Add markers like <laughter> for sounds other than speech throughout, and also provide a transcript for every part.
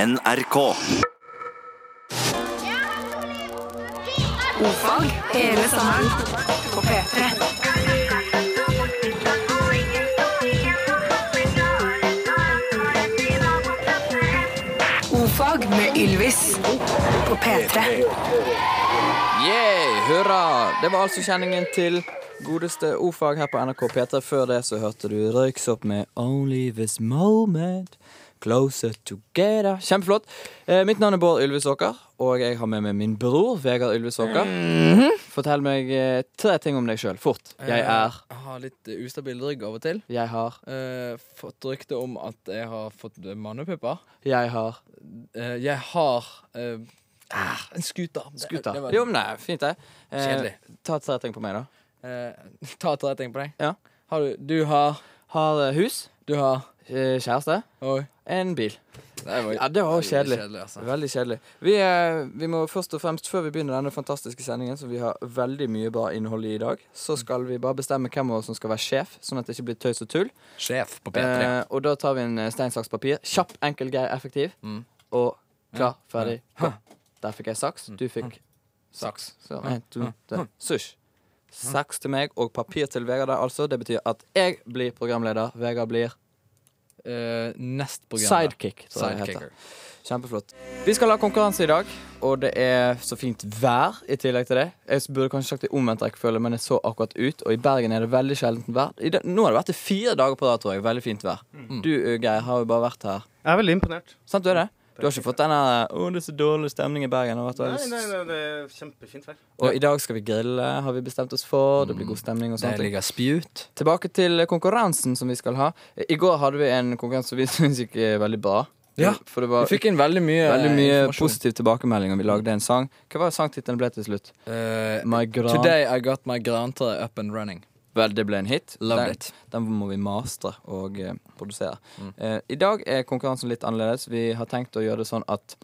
NRK. Fag hele sommeren på P3. Ofag med Ylvis på P3. Yeah, hurra! Det var altså kjenningen til godeste ordfag her på NRK P3. Før det så hørte du Røyksopp med Only This Moment. Closer Together. Kjempeflott. Eh, mitt navn er Bård Ylvisåker, og jeg har med meg min bror Vegard Ylvisåker. Mhm. Fortell meg eh, tre ting om deg sjøl, fort. Jeg er Eh, Jeg har litt eh, ustabil rygg av og til. Jeg har Eh, fått rykte om at jeg har fått eh, mannepupper. Jeg har Eh, jeg har eh, ah, en scooter. Det- Gutter. det var- Jo, men nei, fint, det. Eh, Kjedelig. Ta tre ting på meg, da. Eh, ta tre ting på deg. Ja. Har du, du har Har eh, hus. Du har eh, Kjæreste. Oi. En bil. Det var Ja, det var jo kjedelig. altså. Veldig kjedelig. Vi, eh, vi må først og fremst, før vi begynner denne fantastiske sendingen, som vi har veldig mye bra innhold i i dag, så skal vi bare bestemme hvem av oss som skal være sjef, sånn at det ikke blir tøys og tull. Sjef på Eh, og da tar vi en eh, stein, saks, papir. Kjapp, enkel, grei, effektiv. Mm. Og klar, ferdig, gå. Der fikk jeg saks, du fikk Saks. så, en, to, tre. Sush. Saks til meg og papir til Vegard der, altså. Det betyr at jeg blir programleder, Vegard blir Eh, nest program. sidekick, tror jeg det heter. Sidekicker. Kjempeflott. Vi skal ha konkurranse i dag, og det er så fint vær i tillegg til det. Jeg burde kanskje sagt det i omvendt rekkefølge, men jeg så akkurat ut, og i Bergen er det veldig sjeldent vær. I dag- nå har det vært det fire dager på rad, tror jeg. Veldig fint vær. Mm. Du, eh, Geir, har jo bare vært her. Jeg er veldig imponert. Sant du er det? Du har ikke fått den her eh, 'Å, det er så dårlig stemning i Bergen'. Og, vært Nei, veldig- nei, nei, det er kjempefint vær. og i dag skal vi grille, har vi bestemt oss for. Det Mm. blir god stemning og sånt. Der ligger spjut. Tilbake til konkurransen som vi skal ha. I går hadde vi en konkurranse som vi <laughs> syntes gikk eh, veldig bra. Ja, For det var Vi fikk inn veldig mye Veldig mye eh, informasjon. positiv tilbakemelding, og vi lagde en sang. Hva var sangtittelen ble til slutt? Eh, My Gran. today I got my grantre up and running. Vel, det ble en hit. Loved den, it. Mm. den må vi mastre og eh, produsere. Eh, I dag er konkurransen litt annerledes. Vi har tenkt å gjøre det sånn at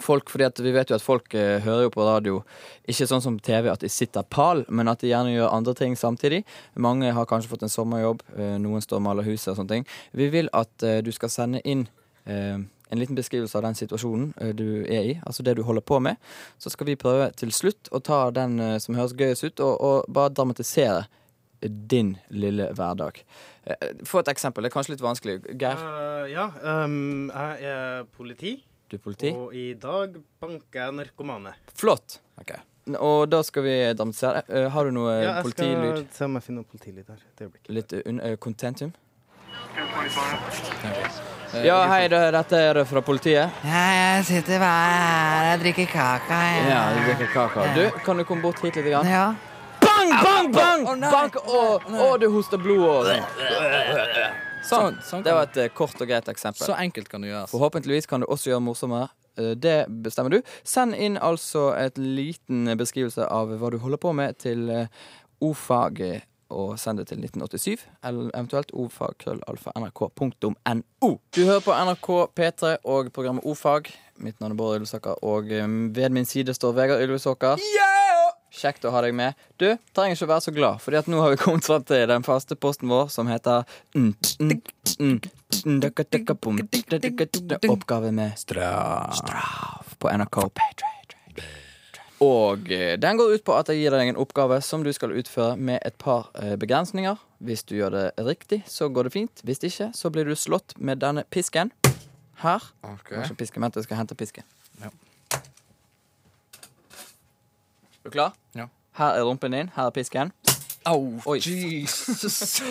folk fordi at vi vet jo at folk eh, hører jo på radio, ikke sånn som TV at de sitter pal, men at de gjerne gjør andre ting samtidig. Mange har kanskje fått en sommerjobb, eh, noen står og maler huset og sånne ting. Vi vil at eh, du skal sende inn eh, en liten beskrivelse av den situasjonen eh, du er i, altså det du holder på med. Så skal vi prøve til slutt å ta den eh, som høres gøyest ut, og, og bare dramatisere din lille hverdag. Eh, Få et eksempel. Det er kanskje litt vanskelig. Geir, Eh, ja, ehm, jeg er politi, du er politi. og i dag banker jeg narkomane. Flott. N- Og da skal vi dramatisere. Eh, Har du noe Ja, jeg politilyd? skal se om jeg finner noe politilyd her. Et øyeblikk. Litt un eh, contentum? Ja, hei, det, dette er fra politiet. Nei, jeg sitter bare her og drikker kaka. Jeg. Ja, du drikker kaka. Du, kan du komme bort hit litt? Grann? Ja. Bang, bang, bang! Bank, å, å, du hoster blod og Sånn. Sånn kan Det var et eh, kort og greit eksempel. Så enkelt kan det gjøres. Forhåpentligvis kan du også gjøre det morsommere. Eh, Det bestemmer du. Send inn altså et liten beskrivelse av hva du holder på med til eh, ofag, eh, og send det til 1987, eller eventuelt ofag.krøllalfa.nrk.no. Du hører på NRK P3 og programmet Ofag. Mitt navn er Bård Ylvesåker, og eh, ved min side står Vegard Ylvesåker. Kjekt å ha deg med. Du trenger ikke å være så glad, Fordi at nå har vi kommet fram til den faste posten vår, som heter Mm. Oppgave med straff på NRK Og eh, den går ut på at jeg gir deg en oppgave som du skal utføre med et par eh, begrensninger. Hvis du gjør det riktig, så går det fint. Hvis ikke, så blir du slått med denne pisken her. Kanskje pisken, vent, jeg skal hente pisken. Ja. Er du klar? Ja. Her er rumpen din, her er pisken. Au, Oi. <laughs> Jesus.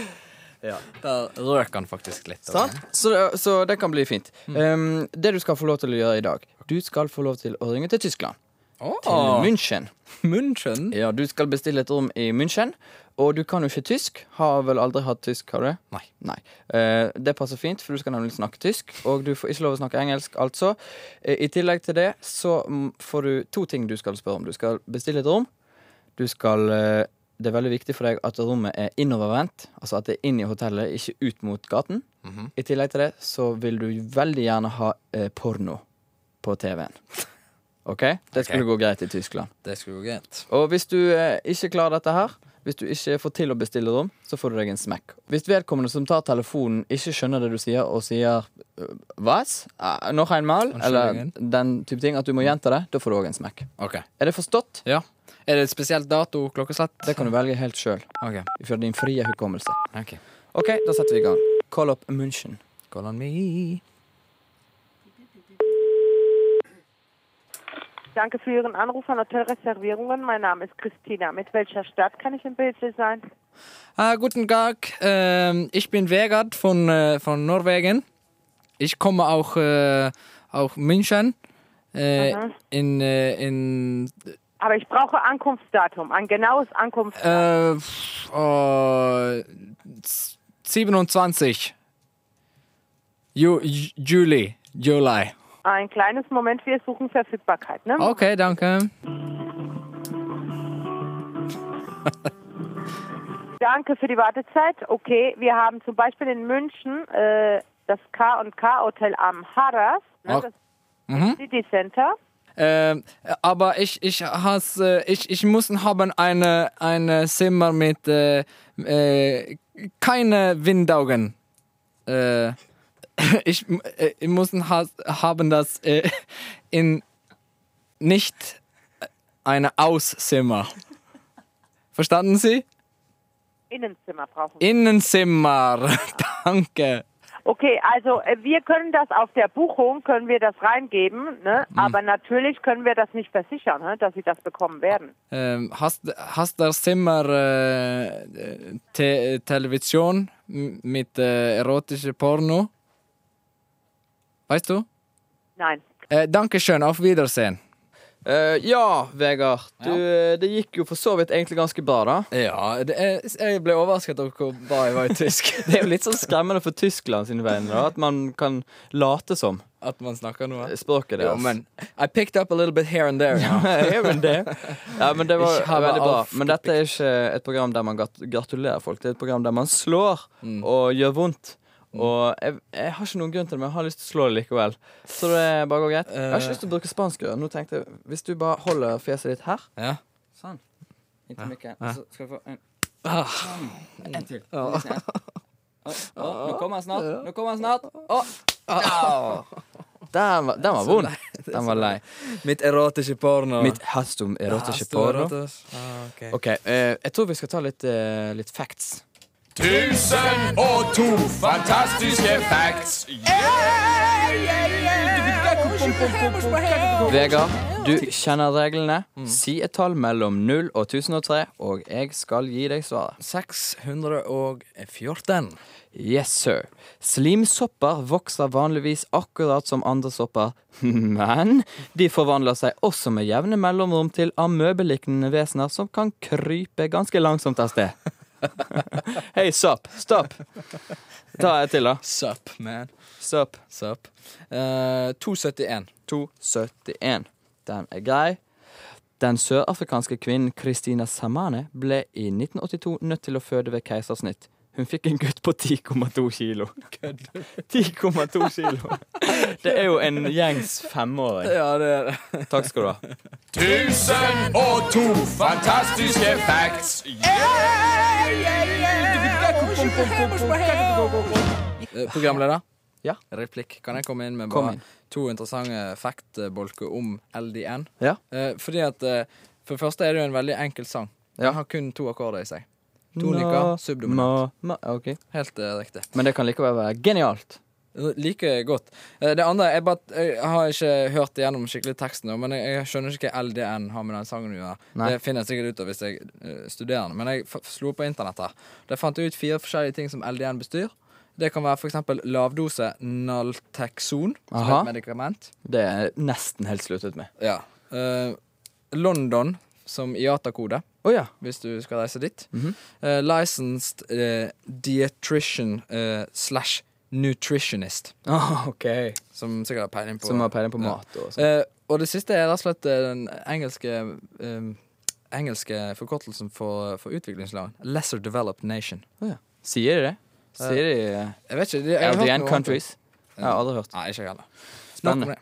Der røk han faktisk litt. altså. Sant? Så, det- så det kan bli fint. Um, det du skal få lov til å gjøre i dag Du skal få lov til å ringe til Tyskland. Til Åh, München. München. Ja, Du skal bestille et rom i München. Og du kan jo ikke tysk. Har vel aldri hatt tysk, har du? Nei. Nei. Eh, det passer fint, for du skal nemlig snakke tysk. Og du får ikke lov å snakke engelsk, altså. Eh, I tillegg til det så mm, får du to ting du skal spørre om. Du skal bestille et rom. Du skal eh, Det er veldig viktig for deg at rommet er innovervendt. Altså at det er inn i hotellet, ikke ut mot gaten. Mhm. I tillegg til det så vil du veldig gjerne ha eh, porno på <laughs> TV-en. OK? Det skulle gå greit i Tyskland. Det skulle gå greit. Og hvis du eh, ikke klarer dette her, Hvis du ikke får til å bestille rom, så får du deg en smekk. Hvis vedkommende som tar telefonen, ikke skjønner det du sier, og sier øh, «Was? Eh, Noch einmal? Eller Unnskyldningen. den type ting, at du må gjenta det, da får du òg en smekk. Ok. Er det forstått? Ja. Er det et spesielt dato, klokkeslett? Det kan du velge helt sjøl, Ok. ifra din frie hukommelse. ok. OK, da setter vi i gang. Call up München. Call on me. Danke für Ihren Anruf an Hotelreservierungen. Mein Name ist Christina. Mit welcher Stadt kann ich im Bilde sein? Ah, guten Tag. Ähm, ich bin Vegard von, äh, von Norwegen. Ich komme auch, äh, auch München. Äh, in, äh, in Aber ich brauche Ankunftsdatum, ein genaues Ankunftsdatum. äh, pff, äh, 27. Ju Ju- Juli. Juli. Ein kleines Moment, wir suchen Verfügbarkeit. Ne? Okay, danke. Danke für die Wartezeit. Okay, wir haben zum Beispiel in München äh, das K und K Hotel am Harras, ne, Ok. das City Center. Ähm, aber ich, ich, has, äh, ich, ich muss haben eine, eine Zimmer mit äh, äh, keine Windaugen. Äh, <laughs> ich, m- äh, ich muss has, haben das äh, in nicht eine Auszimmer. Verstanden Sie? Innenzimmer brauchen <laughs> wir. Innenzimmer. Danke. Okay, also äh, wir können das auf der Buchung, können wir das reingeben, ne? aber natürlich können wir das nicht versichern, ne? dass Sie das bekommen werden. Ähm, hast, hast das Zimmer äh, te Television m- mit äh, erotischer Porno? Weißt du? Nein. Äh, Dankeschön, auf Wiedersehen. Eh, ja, Vegard. Du, eh, Det gikk jo for så vidt egentlig ganske bra, da. Ja, det er, jeg ble overrasket over hvor bra jeg var i tysk. <laughs> Det er jo litt sånn skremmende for Tyskland sine vegne, da, at man kan late som At man snakker noe. språket Jo, deres. men I picked up a little bit <laughs> here and there. Er vel det. Ja, men det var Ikke ha meg veldig bra. avspilt. Men dette er ikke et program der man grat- gratulerer folk. Det er et program der man slår Mm. og gjør vondt. Og jeg, jeg har ikke noen grunn til det, men jeg har lyst til å slå det likevel. Så det bare går greit. Jeg har ikke lyst til å bruke spansk. Nå tenkte jeg, Hvis du bare holder fjeset ditt her Ja. Sånn. Inntil mikken. Så skal du få en Ah. Sånn. En til. Oi, å, Nå kommer han snart. Nå kommer han snart. Å! Ah. Au. Den var, den var vond. Den var lei. Mitt erotische porno. Mitt hastum erotische porno. Ah, ok. Ok, eh, jeg tror vi skal ta litt, eh, litt facts. Tusen og to fantastiske facts. Vegard, du kjenner reglene. Si et tall mellom 0 og 1003, og jeg skal gi deg svaret. 614. Yes, sir. Slimsopper vokser vanligvis akkurat som andre sopper, <laughs> men de forvandler seg også med jevne mellomrom til amøbelignende vesener som kan krype ganske langsomt av sted. <laughs> Hei, sopp. Stopp. Ta et til, da. Sup, man. Sopp. Sup. Eh, 271. 271. Den er grei. Den sørafrikanske kvinnen Christina Samane ble i 1982 nødt til å føde ved keisersnitt. Hun fikk en gutt på 10,2 kilo. 10,2 kilo! Det er jo en gjengs femåring. Ja, det er det. Takk skal du ha. Tusen og to fantastiske facts. Eh, Programleder? Ja. Replikk. Kan jeg komme inn med Kom bare inn. to interessante faktbolker om LDN? Ja. Eh, fordi at eh, For det første er det jo en veldig enkel sang. Ja. Den har kun to akkorder i seg. Tonika, Nå, subdominant. ma- ma- ok. Helt eh, riktig. Men det kan likevel være genialt. Like godt. Eh, det andre Jeg, bare, jeg har ikke hørt igjennom skikkelig teksten, nå, men jeg, jeg skjønner ikke hva LDN har med den sangen å gjøre. Nei. Det finner jeg sikkert ut av hvis jeg eh, studerer den. Men jeg f slo på internett her. Der fant jeg ut fire forskjellige ting som LDN bestyr. Det kan være f.eks. lavdose Naltexon, som er Aha. et medikament. Det er jeg nesten helt sluttet med. Ja. Eh, London som IATA-kode, Å ja. hvis du skal reise dit. Mhm. Eh, licensed eh, dietrician eh, slash nutritionist, Ah, ok. som sikkert har peiling på Som har peiling på Ja. mat og sånn. Eh, og det siste er rett og slett eh, den engelske eh, Engelske forkortelsen for, for utviklingsland. Lesser developed nation. Sier de det? Sier de eh, Jeg vet ikke. det- jeg har hørt noe LDN om det. countries? Jeg har aldri hørt. Nei, ikke jeg heller. Nok om Spennende. det.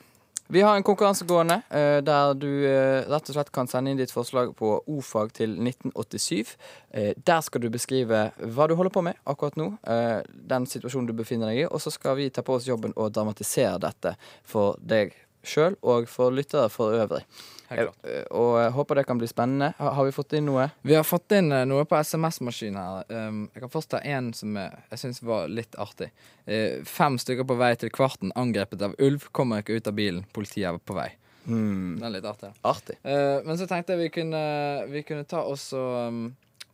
Vi har en konkurranse gående eh, der du eh, rett og slett kan sende inn ditt forslag på ordfag til 1987. Eh, der skal du beskrive hva du holder på med akkurat nå, eh, den situasjonen du befinner deg i, og så skal vi ta på oss jobben og dramatisere dette for deg sjøl og for lyttere for øvrig. Helt klart. Eh, og jeg håper det kan bli spennende. Har, har vi fått inn noe? Vi har fått inn eh, noe på SMS-maskinen her. Um, jeg kan først ta en som eh, jeg syns var litt artig. Eh, fem stykker på vei til kvarten angrepet av ulv. Kommer ikke ut av bilen. Politiet er på vei. Den er litt artig. ja. Hmm, Artig. Eh, men så tenkte jeg vi kunne, vi kunne ta oss og, um,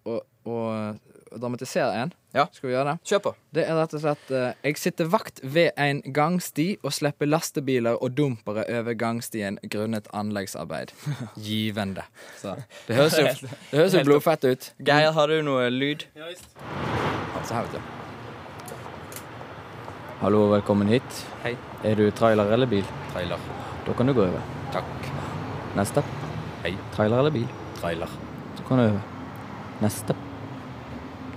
og, og, og dramatisere en. Ja. Skal vi gjøre det? Kjør på. Det er rett og slett eh, Jeg sitter vakt ved en gangsti og slipper lastebiler og dumpere Eh, over gangstien grunnet <laughs> anleggsarbeid. Givende. Så, det <laughs> høres jo, <laughs> det høres jo blodfett ut. Geir, har du noe lyd? Ja, visst. Så her, vet du. Hallo og velkommen hit. Hei. Er du trailer eller bil? Trailer. Da kan du gå over. Takk. Neste. Hei. Trailer eller bil? Trailer. Så kan du over. Neste.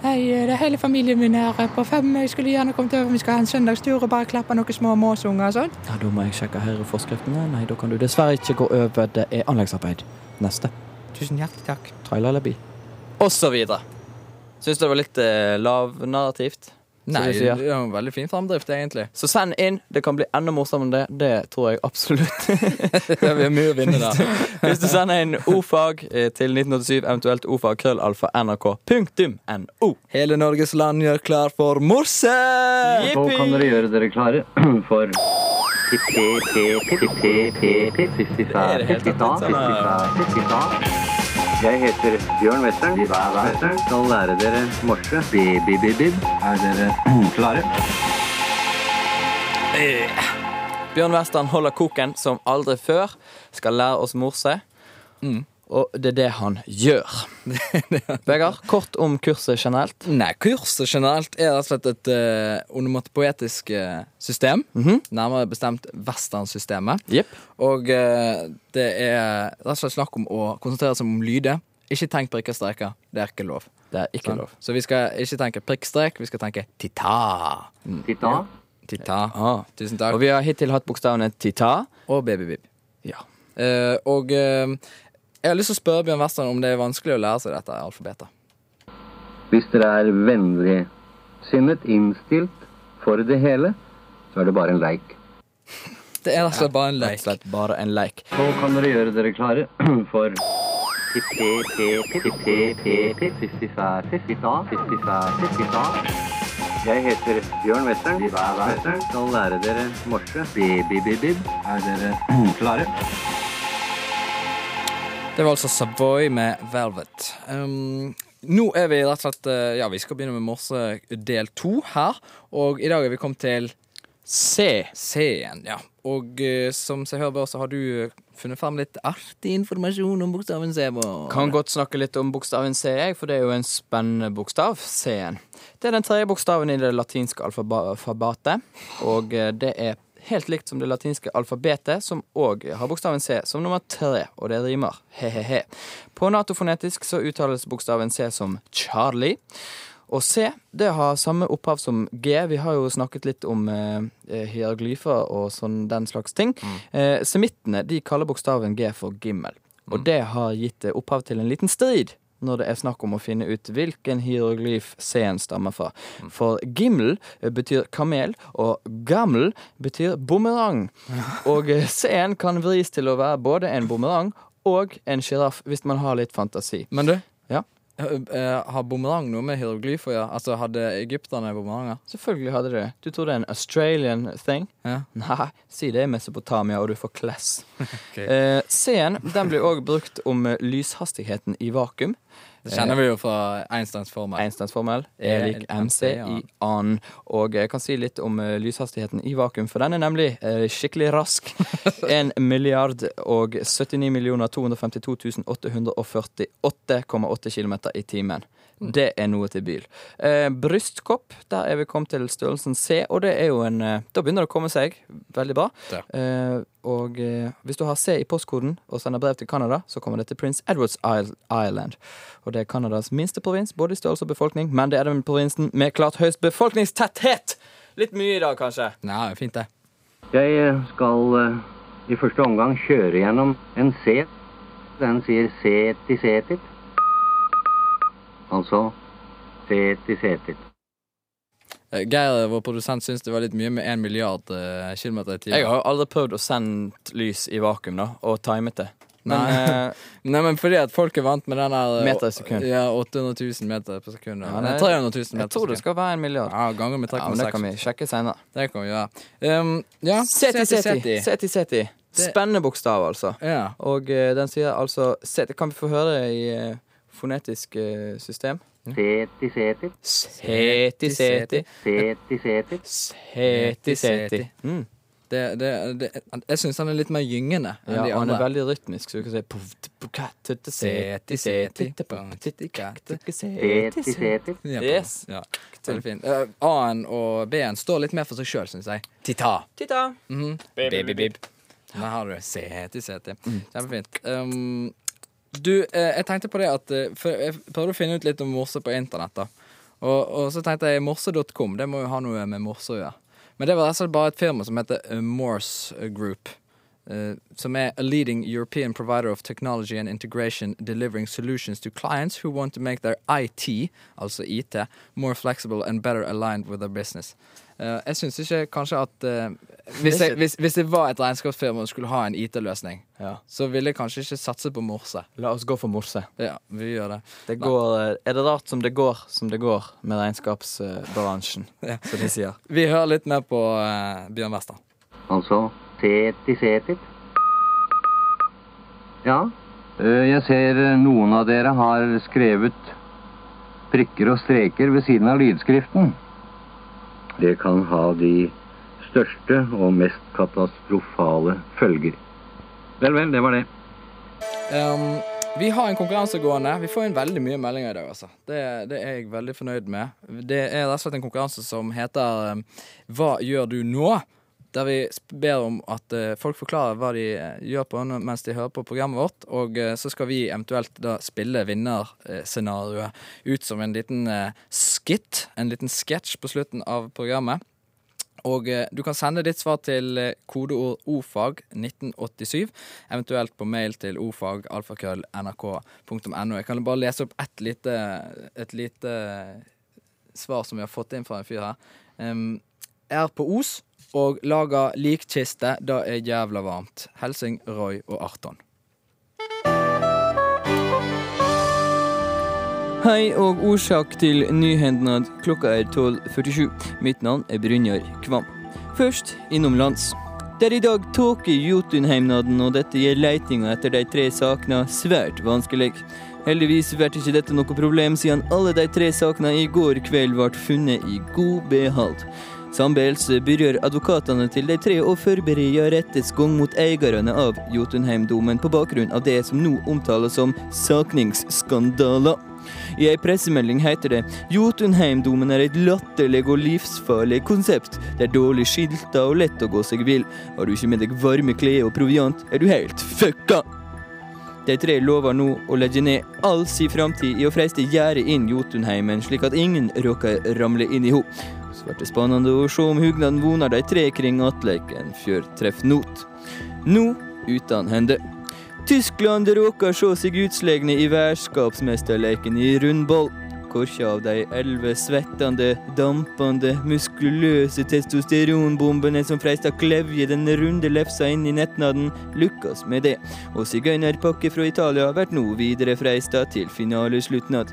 Hei, det er hele familien min her på fem. Jeg skulle gjerne kommet over. Vi skal ha en søndagstur og bare klappe noen små måsunger og sånn. Ja, Da må jeg sjekke her i forskriftene. Nei, da kan du dessverre ikke gå over. Det er anleggsarbeid. Neste. Tusen hjertelig takk. Trailer eller bil? Og så videre. Syns du det var litt eh, lavnarrativt? som Nei, du det sier? er jo en veldig fin framdrift, egentlig. Så send inn. Det kan bli enda morsommere enn det. Det tror jeg absolutt. Det er mye å vinne der. Hvis du sender inn ordfag eh, til 1987, eventuelt ordfag krøllalfa nrk.no. Hele Norges land gjør klar for morse! Nå kan dere gjøre dere klare for Jeg heter Bjørn Western. Western. Skal lære dere morse. Bi-bi-bi-bib. Er dere klare? Bjørn Western holder koken som aldri før. Skal lære oss morse. Mm. Og det er det han <laughs> gjør. Vegard, kort om kurset generelt. Nei, kurset generelt er rett og slett et eh, onomatopoetisk eh, system. Mhm. Nærmere bestemt westernsystemet. Jepp. Og eh, det er rett og slett snakk om å konsentrere seg om lyder. Ikke tenk prikker streker. Det er ikke lov. Det er ikke Sant? lov. Så vi skal ikke tenke prikkstrek, vi skal tenke tita. Titta. Tita. Ah. Og Tusen takk. vi har hittil hatt bokstavene tita. Og babybib. Ja. Eh, og eh, jeg har lyst til å spørre Bjørn Western om det er vanskelig å lære seg dette alfabetet. Hvis dere er vennligsinnet innstilt for det hele, så er det bare en leik. Det er rett og slett bare en Rett og lek. slett bare en leik. Så kan dere gjøre dere klare <clears throat> for Jeg heter Bjørn Western. Western. Skal lære dere morse. Bi-bi-bi-bib. Er dere <clears throat> klare? Det var altså Savoy med Velvet. Um, nå er vi rett og slett eh, Ja, vi skal begynne med morse del to her. Og i dag er vi kommet til C. C-en, ja. Og eh, som seg hør bør, så har du eh, funnet frem litt artig informasjon om bokstaven C. på- Kan godt snakke litt om bokstaven C, jeg, for det er jo en spennende bokstav. C-en. Det er den tredje bokstaven i det latinske alfaba- alfabetet, og eh, det er helt likt som det latinske alfabetet, som òg har bokstaven C som nummer tre, og det rimer. He-he-he. På natofonetisk så uttales bokstaven C som Charlie. Og C det har samme opphav som G. Vi har jo snakket litt om eh, hieroglyfer og sånn den slags ting. Eh, semittene de kaller bokstaven G for gimmel. Og det har gitt eh, opphav til en liten strid når det er snakk om å finne ut hvilken hieroglyf C-en stammer fra. For gimmel eh, betyr kamel, og gammel betyr bumerang. Og eh, C-en kan vris til å være både en bumerang og en sjiraff, hvis man har litt fantasi. Men du, Ja, eh, eh, har bumerang noe med hieroglyf å gjøre? Altså, hadde egypterne bumeranger? Selvfølgelig hadde det. Du tror det er en Australian thing? Ja. Nei, si det er Mesopotamia, og du får class. eh, C-en den blir òg brukt om eh, lyshastigheten i vakuum. Det kjenner Eh, vi jo fra Einsteins formel. Einsteinsformel er lik MC i annen. Og jeg kan si litt om eh, lyshastigheten i vakuum, for den er nemlig eh, skikkelig <laughs> rask. 1 milliard og 79 millioner 252 848,8 km i timen. Det er noe til bil. Eh, brystkopp, der er vi kommet til størrelsen C, og det er jo en eh, Da begynner det å komme seg. Veldig bra. Ja. Eh, og eh, hvis du har C i postkoden og sender brev til Canada, så kommer det til Prince Edwards Isle- Island. Og det er Canadas minste provins, både i størrelse og befolkning, men det er den provinsen med klart høyest befolkningstetthet! Litt mye i dag, kanskje. Nei, fint det. Jeg skal eh, i første omgang kjøre gjennom en set. Den sier seti setit. Altså seti setit. Eh, Geir, vår produsent, syns det var litt mye med én milliard eh, kilometer i Jeg timen. har jo aldri prøvd å sende lys i vakuum da, og timet det. Men Nei. eh, Nei, men fordi at folk er vant med den der eh, Meter i sekund. Ja, 800 000 meter per sekund. Ja, <laughs> Ja, nei, nei, 300 000 jeg meter tror per det sekund. skal være en milliard. Ja, ganger med Ja, men det 3,6. kan vi sjekke senere. det kan vi gjøre. Um, ja. Seti, seti. Seti, seti. Spennende bokstav, altså. Ja. Og eh, den sier altså seti. Kan vi få høre det i eh, fonetisk eh, system? Seti setit. Seti, seti. Seti setit. Seti, seti. Mm. Det, det, det, jeg syns han er litt mer gyngende enn Ja, de og han andre. er veldig rytmisk, så du kan si puff, tup, kat, tutte, Seti, seti, tup, tutte, kat, tutte, seti, Seti setit. Ja, Yes. Ja. Så det er fint. Eh, A-en og B-en står litt mer for seg sjøl, syns jeg. Tita. Titta. Bibibib. Der har du sete, sete. Kjempefint. Um, du, eh, jeg tenkte på det at eh, for Jeg prøvde å finne ut litt om morse på internett. da Og, og så tenkte jeg morse.com. Det må jo ha noe med morse å gjøre. Men det var rett og slett bare et firma som heter eh, Morse Group. eh, som er a leading European provider of technology and integration delivering solutions to clients who want to make their IT, altså IT, more flexible and better aligned with their business. Eh, jeg syns ikke kanskje <laughs> at eh, hvis, jeg, hvis, hvis det var et regnskapsfirma som skulle ha en IT-løsning, Ja. så ville jeg kanskje ikke satse på morse. La oss gå for morse. Ja, vi gjør det. Det går, eh, er det rart som det går som det går med regnskapsbransjen, som de sier? Vi hører litt mer på eh, Bjørn Wester. Altså seti setit. Ja, eh, jeg ser eh, noen av dere har skrevet prikker og streker ved siden av lydskriften. Det kan ha de største og mest katastrofale følger. Vel, vel, det var det. Um, vi har en konkurranse gående. Vi får inn veldig mye meldinger i dag. altså. Det, det er jeg veldig fornøyd med. Det er rett og slett en konkurranse som heter um, Hva gjør du nå? Der vi sp- ber om at eh, folk forklarer hva de eh, gjør på nå mens de hører på programmet vårt. Og eh, så skal vi eventuelt da spille vinnerscenarioet ut som en liten uh, skit, en liten sketsj på slutten av programmet. Og eh, du kan sende ditt svar til eh, kodeord ofag 1987, eventuelt på mail til ofag.nrk.no. Jeg kan bare lese opp et lite, et lite eh, svar som vi har fått inn fra en fyr her. Em, er på Os og lager likkiste da er jævla varmt. Helsing Roy og Arton. Hei og årsak til nyhendnad. Klokka er 12.47. Mitt navn er Brynjar Kvam. Først innomlands. Det er i dag tåke i Jotunheimnaden, og dette gjør leitinga etter de tre sakene svært vanskelig. Heldigvis blir ikke dette noe problem, siden alle de tre sakene i går kveld ble funnet i god behald. Samtidig berør advokatene til de tre å forberede rettsgang mot eierne av Jotunheimdomen på bakgrunn av det som nå omtales som sakningsskandaler. I ei pressemelding heter det Jotunheimdomen er et latterlig og livsfarlig konsept. Det er dårlig skilta og lett å gå seg vill. Har du ikke med deg varme klær og proviant, er du helt fucka! De tre lover nå å legge ned all sin framtid i å freiste gjerdet inn Jotunheimen, slik at ingen råker ramle inn i ho. Så blir det spennende å se om hugnaden vonar de tre kring attleik en fjør treff not. Nå utan hende. Tyskland råker se seg utslegne i verdskapsmesterleken i rundball. Korkje av de elleve svettende, dampende, muskuløse testosteronbombene som freista klevje den runde lefsa inn i nettnaden, lykkes med det. Og sigøynerpakke fra Italia blir nå videre freista til finalesluttnad.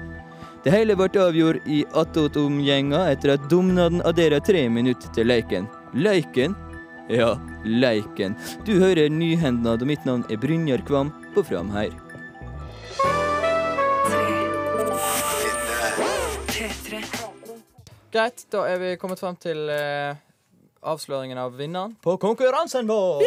Det hele ble avgjort i attåtomgjenga etter at domnaden adderer tre minutter til leiken. Leiken? Ja, leiken. Du hører Nyhendnad, og mitt navn er Brynjar Kvam på Framheir. P3. Greit, da er vi kommet frem til eh, avsløringen av vinneren på konkurransen vår.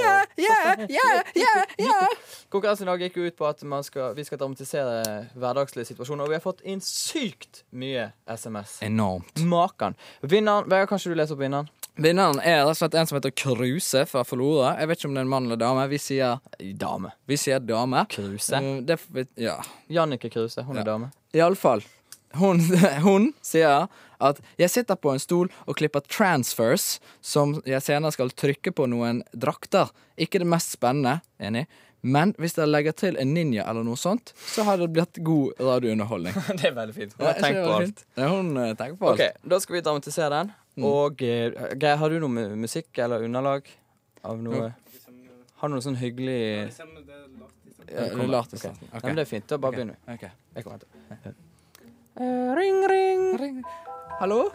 Konkurransen i dag gikk jo ut på at man skal, vi skal dramatisere hverdagslige situasjoner, og vi har fått inn sykt mye SMS. Enormt. Makan. Vinneren Vegard, kanskje du leser opp vinneren? Vinneren er rett og slett en som heter Kruse fra Flora. Jeg vet ikke om det er en mann eller dame. Vi sier, Dame. vi sier dame. Kruse. Um, Det, ja. Jannicke Kruse. Hun er dame. Iallfall. Hun, <laughs> hun sier at 'jeg sitter på en stol og klipper transfers', som jeg senere skal trykke på noen drakter. Ikke det mest spennende, enig, men hvis dere legger til en ninja eller noe sånt, så har det blitt god <laughs> radiounderholdning. <laughs> Det er veldig fint. Ja, Tenk ikke det på var alt. fint? Mm. Ja, Hun eh, tenker på alt. Ok, Da skal vi dramatisere den. Og eh, Geir, har du noe mu- musikk eller underlag av noe Har du noe sånn hyggelig Ja, det er lat i starten. Nei, men Det er fint. Da bare begynner vi. Ok. Jeg kommer etter. ring, ring. Hallo?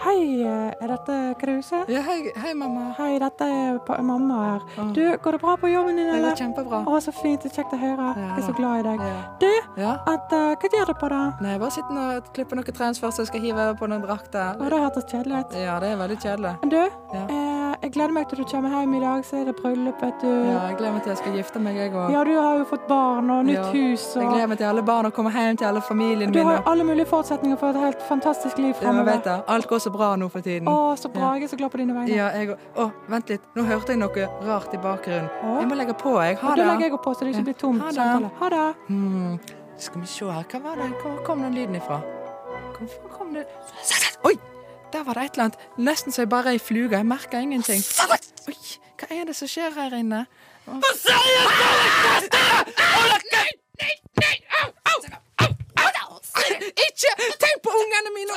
Hei, eh, er dette Kruse? Ja, hei, hei, mamma. Hei, dette er pa- mamma her. Du, går det bra på jobben din, Mm. Det eller? går kjempebra. Å, så fint. det er Kjekt å høre. Jeg er så glad i deg. Ja. Du, Ja. at, eh, hva gjør du på da? Nei, bare sitte og klippe noen transfer så jeg skal hive på noen drakter. Å, det hørtes kjedelig ut. Ja, det er veldig kjedelig. Men Du, eh, jeg gleder meg til du kommer hjem i dag, så er det bryllup, vet du. Ja, jeg gleder meg til jeg skal gifte meg, jeg òg. Ja, du har jo fått barn og nytt Ja, hus. Jeg Og gleder meg til alle barn og komme hjem til alle familien du min. har jo og- alle mulige forutsetninger for et helt fantastisk liv Ja, jeg vet fremover. det. Alt går så bra nå for tiden. Å, så bra. Jeg er så glad på dine vegne. Ja, jeg òg. Å, vent litt. Nå hørte jeg noe rart i bakgrunnen. Å. Jeg må legge på, jeg. Ha Og da legger det. jeg opp på, så det ikke blir tom Ha det. samtale. Ha det. Hmm. Skal vi se her. Hva var det? Hvor kom den lyden ifra? Hvorfor kom det Oi! Der var det et eller annet. Nesten så jeg bare er ei fluge. Jeg merker ingenting. Oi, hva er det som skjer her inne? Ikke tenk på ungene mine!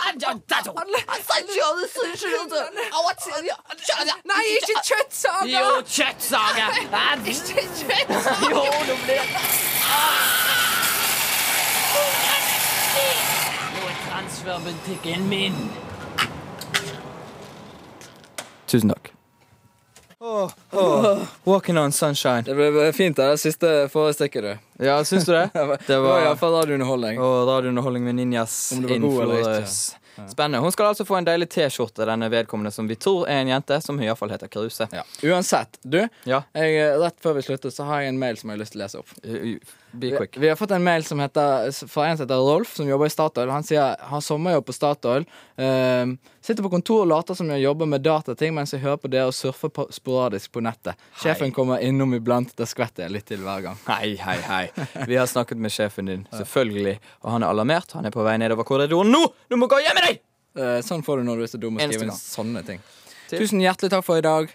Nei, ikke kjøttsaker! Jo, kjøttsaker! Ikke kjøttsaker! Tusen takk. Walking on sunshine. Det ble ble fint, det der siste forestykket, du. Ja, syns <laughs> du det? Det var var- iallfall radiounderholdning. Og radiounderholdning med ninjas Om det var god eller ikke. innenfor, eh, Spennende. Hun skal altså få en deilig T-skjorte, denne vedkommende som vi tror er en jente, som iallfall heter Kruse. Ja. Uansett, du, Ja. jeg, eh, rett før vi slutter, så har jeg en mail som jeg har lyst til å lese opp. Eh, Be Vi, quick. vi har fått en mail som heter, fra en som heter Rolf, som jobber i Statoil. Han sier han har sommerjobb på Statoil. ehm, sitter på kontor og later som jeg jobber med datating mens jeg hører på dere og surfer på, sporadisk på nettet. Sjefen kommer innom iblant. Da skvetter jeg litt til hver gang. <laughs> Hei, hei, <laughs> hei. Vi har snakket med sjefen din, selvfølgelig. Og han er alarmert. Han er på vei nedover korridoren nå! Du må gå og gjemme deg! Eh, sånn får du når du er så dum og Eneste skriver inn gang. sånne ting. Til- Tusen hjertelig takk for i dag.